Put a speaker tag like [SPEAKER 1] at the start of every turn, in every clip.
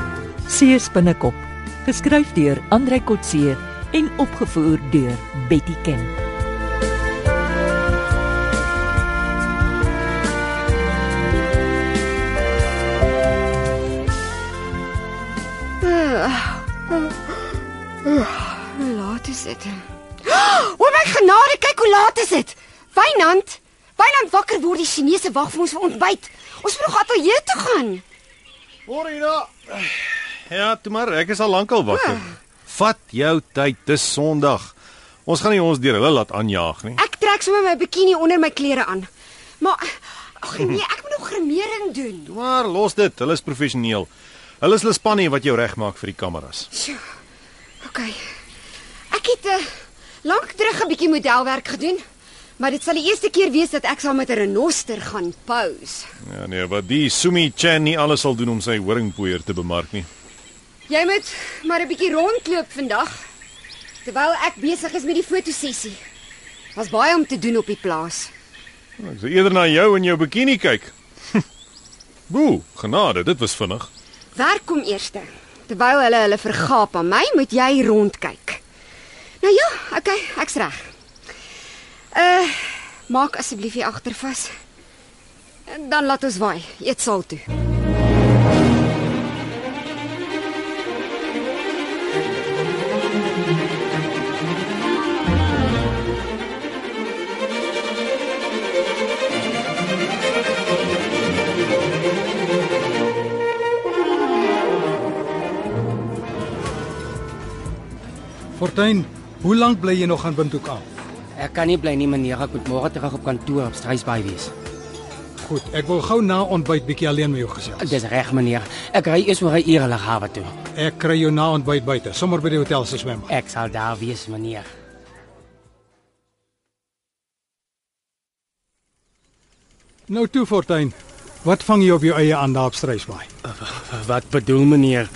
[SPEAKER 1] Kotse se binnekop, geskryf deur Andrei Kotse en opgevoer deur Betty Ken.
[SPEAKER 2] Hoe laat is dit? O my genade, kyk hoe laat is dit. Wynand, Wynand wakker word die Chinese wag vir ons vir ontbyt. Ons moet nog ateljee toe gaan.
[SPEAKER 3] Môre Ina. Ja, toe maar, ek is al lankal wakker. Vat jou tyd, dis Sondag. Ons gaan nie ons deur hulle laat aanjaag nie.
[SPEAKER 2] Ek trek sommer my bikini onder my klere aan. Maar ag nee, ek moet nog grimering doen.
[SPEAKER 3] Toe maar, los dit. Hulle is professioneel. Hulle is hulle span nie wat jou regmaak vir die kameras.
[SPEAKER 2] Sjoe. OK. Ek het 'n uh, lank terug 'n bietjie modelwerk gedoen, maar dit sal die eerste keer wees dat ek saam met 'n renoster gaan pose.
[SPEAKER 3] Ja nee, wat die Sumi Chan nie alles sal doen om sy horingpoeier te bemark nie.
[SPEAKER 2] Jy moet maar 'n bietjie rondloop vandag terwyl ek besig is met die fotosessie. Was baie om te doen op die plaas.
[SPEAKER 3] Ek sê eerder na jou en jou bikini kyk. Boe, genade, dit was vinnig.
[SPEAKER 2] Werk kom eers. Terwyl hulle hulle vergaap aan my, moet jy rondkyk. Nou ja, okay, ek's reg. Uh maak asseblief hier agter vas. En Dan laat ons waai, eetsaal toe.
[SPEAKER 4] Fortuin, hoe lank bly jy nog aan Windhoek af?
[SPEAKER 5] Ek kan nie bly nie meneer, ek moet môre terug op kantoor op Strysbaai wees.
[SPEAKER 4] Goed, ek wil gou na ontbyt bietjie alleen met jou gesels.
[SPEAKER 5] Dis reg meneer. Ek ry eers oor 'n uur na hawe toe.
[SPEAKER 4] Ek kry jou na ontbyt buite, sommer by die hotel se swembad.
[SPEAKER 5] Ek sal daar wees meneer.
[SPEAKER 4] Nou toe Fortuin, wat vang jy op jou eie aan daar op Strysbaai?
[SPEAKER 5] Wat bedoel meneer?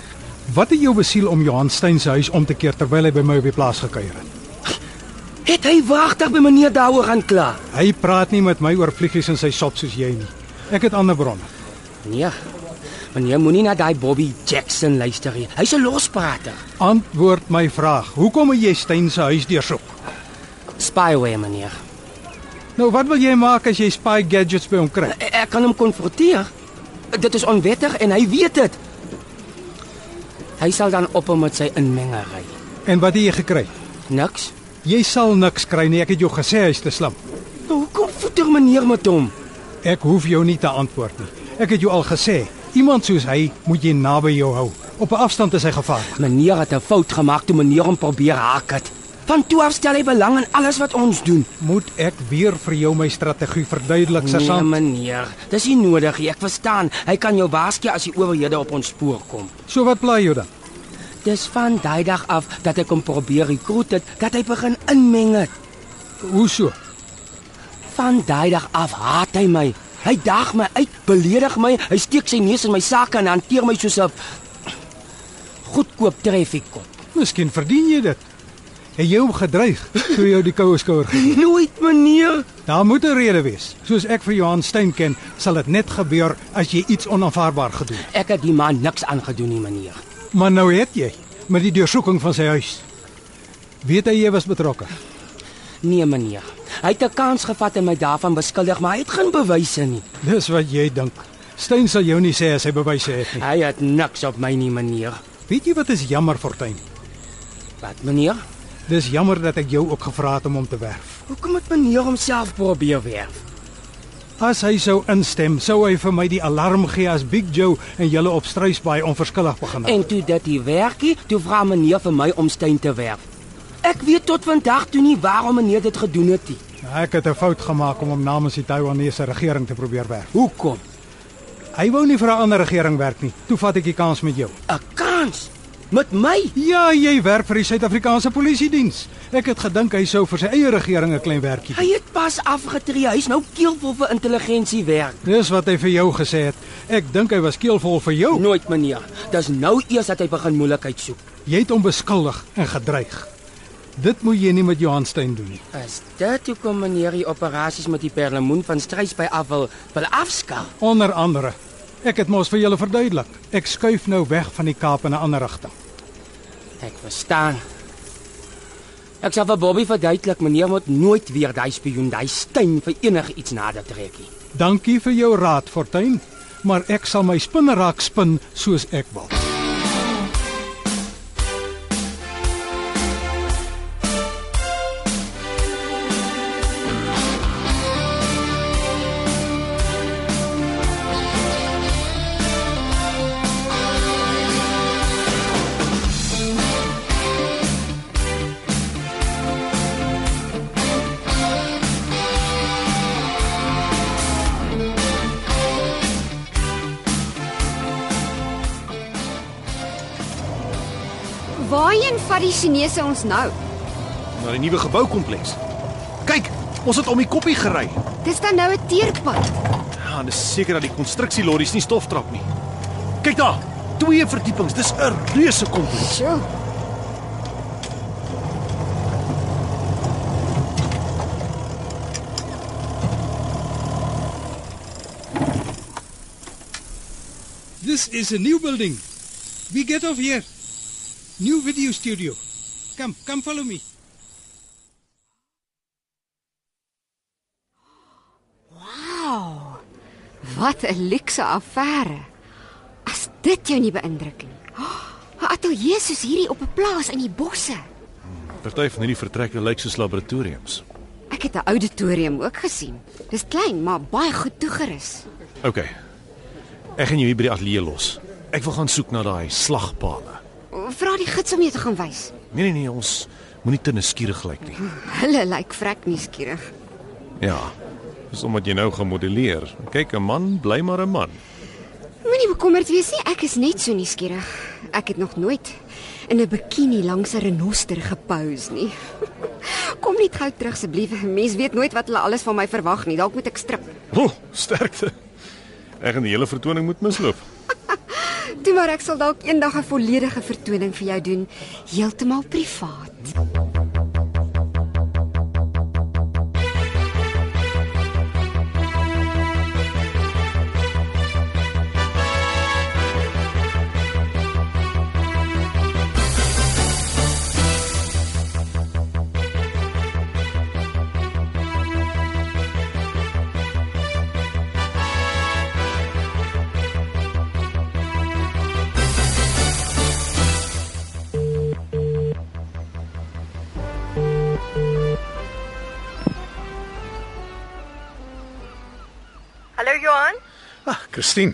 [SPEAKER 4] Wat het jou besiel om Johan Steyn se huis om te keer terwyl hy by my op die plaas gekuier het?
[SPEAKER 5] Het hy wagtig by meneer daaroor gaan kla?
[SPEAKER 4] Hy praat nie met my oor vliegies in sy sop soos jy nie. Ek het ander bronne.
[SPEAKER 5] Nee. Meneer moenie na daai Bobby Jackson luister nie. Hy's 'n losprater.
[SPEAKER 4] Antwoord my vraag. Hoekom het jy Steyn se huis deursoek?
[SPEAKER 5] Spyware meneer.
[SPEAKER 4] Nou wat wil jy maak as jy spy gadgets by hom kry?
[SPEAKER 5] E- Ek kan hom konfronteer. Dit is onwettig en hy weet dit. Hy sal dan ophou met sy inmengery.
[SPEAKER 4] En wat het jy gekry?
[SPEAKER 5] Niks.
[SPEAKER 4] Jy sal niks kry nie. Ek het jou gesê hy's te slim.
[SPEAKER 5] Nou, Hoekom voeter meneer met hom?
[SPEAKER 4] Ek hoef jou nie te antwoord nie. Ek het jou al gesê, iemand soos hy moet jy naby jou hou. Op 'n afstand is hy gevaarlik.
[SPEAKER 5] Meneer het 'n fout gemaak toe meneer hom probeer haak het. Van toe af stel hy belang in alles wat ons doen.
[SPEAKER 4] Moet ek weer vir jou my strategie verduidelik, sergeant?
[SPEAKER 5] Nee, meneer, dis nie nodig nie. Ek verstaan. Hy kan jou waarsku as die owerhede op ons spoor kom.
[SPEAKER 4] so wat pla jy dan?
[SPEAKER 5] Dis van daai dag af dat ek hom probeer rekruut het, dat hy begin inmeng het.
[SPEAKER 4] Hoe so?
[SPEAKER 5] Van daai dag af haat hy my. Hy daag my uit, beledig my, hy steek sy neus in my sake en hanteer my soos 'n goedkoop treffikkop.
[SPEAKER 4] Miskien verdien jy dit. Het jy hom gedreig toe jou die koue skouer gee?
[SPEAKER 5] Nooit, meneer.
[SPEAKER 4] Daar moet 'n rede wees. Soos ek vir Johan Stein ken, sal dit net gebeur as jy iets onaanvaarbaar gedoen het.
[SPEAKER 5] Ek het die man niks aangedoen nie, meneer.
[SPEAKER 4] Maar nou het jy met die deursoeking van sy huis. Weet hy jy was betrokke?
[SPEAKER 5] Nee, meneer. Hy het 'n kans gevat en my daarvan beskuldig, maar hy het geen bewyse nie.
[SPEAKER 4] Dis wat jy dink. Stein sal jou nie sê as hy bewyse het nie.
[SPEAKER 5] Hy het niks op my nie, meneer.
[SPEAKER 4] Weet jy wat is jammer Fortuin?
[SPEAKER 5] Wat, meneer?
[SPEAKER 4] Dis jammer dat ek jou ook gevra het om hom te werf.
[SPEAKER 5] Hoekom het meneer homself probeer werf?
[SPEAKER 4] As hy sou instem, sou hy vir my die alarm gee as Big Joe en julle op Struisbaai onverskillig begin het.
[SPEAKER 5] En toe dit hier werkie, toe vra meneer vir my om Stein te werf. Ek weet tot vandag toe nie waarom meneer dit gedoen het nie.
[SPEAKER 4] Ek het 'n fout gemaak om hom namens die Taiwanese regering te probeer werf.
[SPEAKER 5] Hoekom?
[SPEAKER 4] Hy wou nie vir 'n ander regering werk nie. Toe vat ek die kans met jou.
[SPEAKER 5] 'n Kans met my.
[SPEAKER 4] Ja, jy werk vir die Suid-Afrikaanse Polisie Diens. Ek het gedink hy sou vir sy eie regering 'n klein werkie doen.
[SPEAKER 5] Hy het pas afgetree. Hy's nou keelvol vir intelligensiewerk.
[SPEAKER 4] Dis wat hy vir jou gesê het. Ek dink hy was keelvol vir jou.
[SPEAKER 5] Nooit, meneer. Dis nou eers dat hy begin moeilikheid soek.
[SPEAKER 4] Jy het hom beskuldig en gedreig. Dit moet jy nie met Johan Stein doen nie.
[SPEAKER 5] As dit hoekom meneer die operasies met die perlemoen van Strysby af wil, wil afskaal.
[SPEAKER 4] Onder andere. Ek het mos vir julle verduidelik. Ek skuif nou weg van die Kaap in 'n ander rigting.
[SPEAKER 5] Ek verstaan. Ek sal vir Bobby verduidelik meneer moet nooit weer daai spioen, daai stein vir enigiets nader trek nie.
[SPEAKER 4] Dankie vir jou raad, Fortuin, maar ek sal my spinneraak spin soos ek wil.
[SPEAKER 2] Waarheen vat die Chinese ons nou?
[SPEAKER 3] Na die nuwe geboukompleks. Kyk, ons het om die koppie gery.
[SPEAKER 2] Dis dan nou 'n teerpad.
[SPEAKER 3] Ja, dis seker dat die konstruksielorries nie stof trap nie. Kyk daar, twee verdiepings. Dis 'n reuse kompleks.
[SPEAKER 2] Sjoe.
[SPEAKER 4] This is a new building. We get off here. New video studio. Come, come follow me.
[SPEAKER 2] Wow. Wat 'n luukse affære. As dit jou nie beïndruk nie. Oh, 'n Ateljee soos hierdie op 'n plaas in die bosse.
[SPEAKER 3] Party van hierdie vertrekke lyk soos laboratoriums.
[SPEAKER 2] Ek het 'n auditorium ook gesien. Dis klein, maar baie goed toegerus.
[SPEAKER 3] OK. Ek gaan jou hier by die ateljee los. Ek wil gaan soek na daai slagpale.
[SPEAKER 2] Vra die gids om jou te gaan wys.
[SPEAKER 3] Nee nee nee, ons moenie te nuuskierig lyk nie.
[SPEAKER 2] Hulle lyk vrek nuuskierig.
[SPEAKER 3] Ja. Dis omdat jy nou gemodelleer. Kyk, 'n man bly maar 'n man.
[SPEAKER 2] Moenie bekommerd wees nie, ek is net so nuuskierig. Ek het nog nooit in 'n bikini langs 'n renoster gepose nie. Kom net gou terug asseblief. Mense weet nooit wat hulle alles van my verwag nie. Dalk moet ek strip.
[SPEAKER 3] O, sterkte. Ek gaan die hele vertoning moet misloop.
[SPEAKER 2] Toe maar ek sal dalk eendag 'n volledige vertoning vir jou doen, heeltemal privaat.
[SPEAKER 6] Hallo Johan,
[SPEAKER 7] Ah, Christine.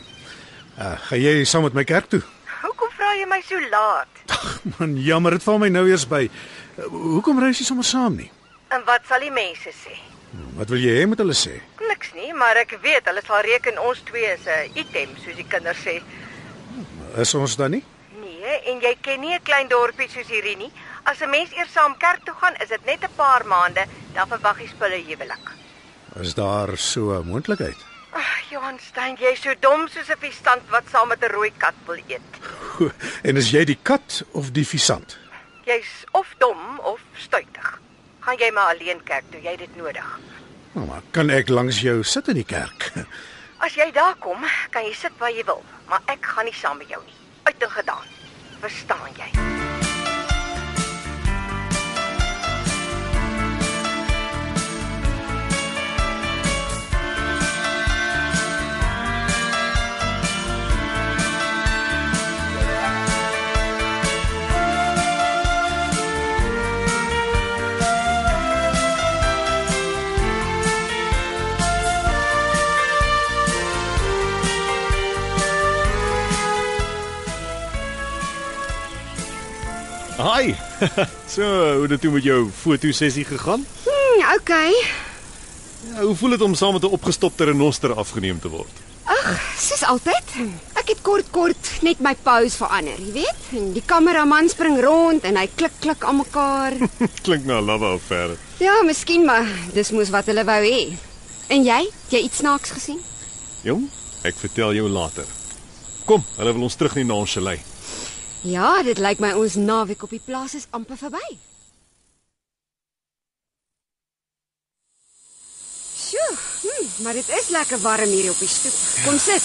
[SPEAKER 7] Uh, gaan jy saam met my kerk toe?
[SPEAKER 6] hoekom vra jy my so laat?
[SPEAKER 7] Man, jammer, dit val my nou eers by. Uh, hoekom reis jy sommer saam nie?
[SPEAKER 6] En wat sal die mense sê?
[SPEAKER 7] Wat wil jy hê moet hulle sê?
[SPEAKER 6] Niks nie, maar ek weet hulle sal reken ons twee is 'n item soos die kinders sê.
[SPEAKER 7] Is ons dan nie?
[SPEAKER 6] Nee, en jy ken nie 'n klein dorpie soos hierdie nie. As 'n mens eers saam kerk toe gaan, is dit net 'n paar maande, dan verwag jy spulle huwelik.
[SPEAKER 7] Is daar so 'n moontlikheid?
[SPEAKER 6] Ag, Johan Stein, jy's so dom soos 'n visstand wat saam met 'n rooi kat wil eet.
[SPEAKER 7] Goh, En is jy die kat of die visant?
[SPEAKER 6] Jy's of dom of stuitig. Gaan jy maar alleen kerk toe, jy het dit nodig.
[SPEAKER 7] Nou, maar kan ek langs jou sit in die kerk?
[SPEAKER 6] As jy daar kom, kan jy sit waar jy wil, maar ek gaan nie saam met jou nie. Uit en gedaan. Verstaan jy?
[SPEAKER 3] Hi. So, hoe het dit toe met jou fotosessie gegaan?
[SPEAKER 2] Hm, okay.
[SPEAKER 3] Ja, hoe voel dit om saam met 'n opgestopte renoster afgeneem te word?
[SPEAKER 2] Soos altyd. Ek het kort kort net my pose verander, jy weet. En die kameraman spring rond en hy klik klik aan mekaar.
[SPEAKER 3] Klink na 'n love affair.
[SPEAKER 2] ja, miskien maar dis moes wat hulle wou hê. En jy, jy iets snaaks gesien?
[SPEAKER 3] Jong, ek vertel jou later. Kom, hulle wil ons terug nie na ons chalet.
[SPEAKER 2] Ja, dit lyk my ons naweek op die plaas is amper verby. hmm, Sjoe, hm, maar dit is lekker warm hier op die stoep. Kom sit.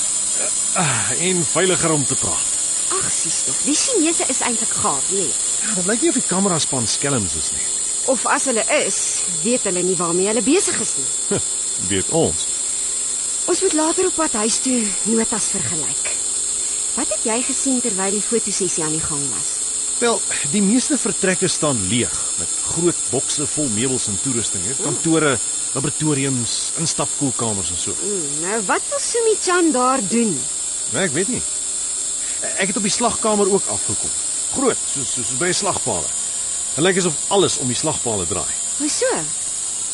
[SPEAKER 3] Ah, en veiliger om te praat.
[SPEAKER 2] Ag, sies tog. Die Chinese is eintlik gaaf, nee.
[SPEAKER 3] Ja, dit lyk nie of die kamera span skelms is nie.
[SPEAKER 2] Of as hulle is, weet hulle nie waarmee hulle besig is nie.
[SPEAKER 3] Weet ons.
[SPEAKER 2] Ons moet later op pad huis toe notas vergelyk. Wat het jy gesien terwyl die fotosessie aan die gang was?
[SPEAKER 3] Wel, die meeste vertrekke staan leeg met groot bokse vol meubels en toerusting, hè, kantore, laboratoriums, instapkoelkamers en so.
[SPEAKER 2] Mm, nou wat wil Sumi Chan daar doen?
[SPEAKER 3] Nee, ek weet nie. Ek het op die slagkamer ook afgekom. Groot, soos soos by slagpale. Dit lyk asof alles om die slagpale draai.
[SPEAKER 2] Hoe so?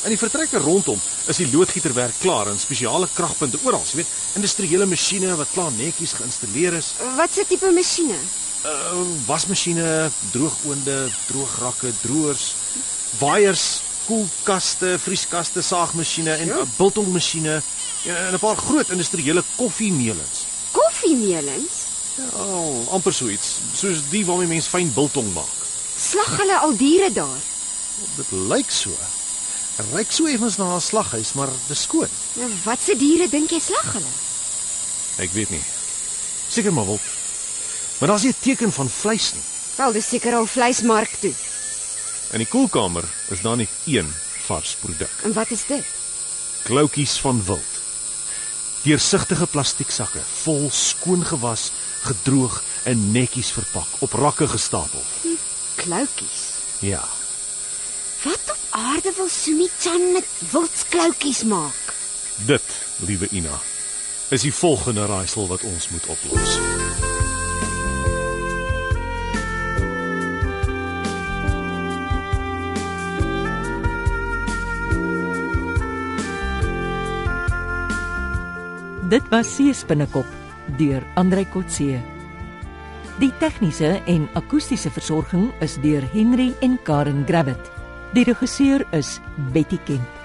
[SPEAKER 3] In die vertrekke rondom is die loodgieterwerk klaar en spesiale kragpunte oral, jy weet, industriële masjiene wat klaar netjies geïnstalleer is,
[SPEAKER 2] Wat se tipe masjiene?
[SPEAKER 3] uh, wasmasjiene, droogoonde, droograkke, droërs, waaiers, koelkaste, vrieskaste, saagmasjiene en 'n ja. biltongmasjiene en en 'n paar groot industriële koffiemeulens.
[SPEAKER 2] Koffiemeulens?
[SPEAKER 3] Ja, al amper so iets, soos die waarmee mense fyn biltong maak.
[SPEAKER 2] Slag hulle al diere daar?
[SPEAKER 3] Dit lyk so. Ryk so effens na 'n slaghuis, maar dis skoon.
[SPEAKER 2] Nou wat se diere dink jy slag hulle?
[SPEAKER 3] Ek weet nie. Seker maar wild. Maar daar's nie 'n teken van vleis nie.
[SPEAKER 2] Wel, dis seker al vleismark toe.
[SPEAKER 3] In die koelkamer is daar net een vars produk.
[SPEAKER 2] En wat is dit?
[SPEAKER 3] kloutjies van wild. Deursigtige plastieksakke, vol skoon gewas, gedroog en netjies verpak, op rakke gestapel.
[SPEAKER 2] Kloutjies.
[SPEAKER 3] Ja.
[SPEAKER 2] Wat op aarde wil Sumi Chan met wildskloutjies maak?
[SPEAKER 3] Dit, liewe Ina, is die volgende raaisel wat ons moet oplos.
[SPEAKER 1] Dit was Seespinnekop deur Andrei Kotse. Die tegniese en akoestiese versorging is deur Henry en Karen Grabbit. Die regisseur is Betty Kemp.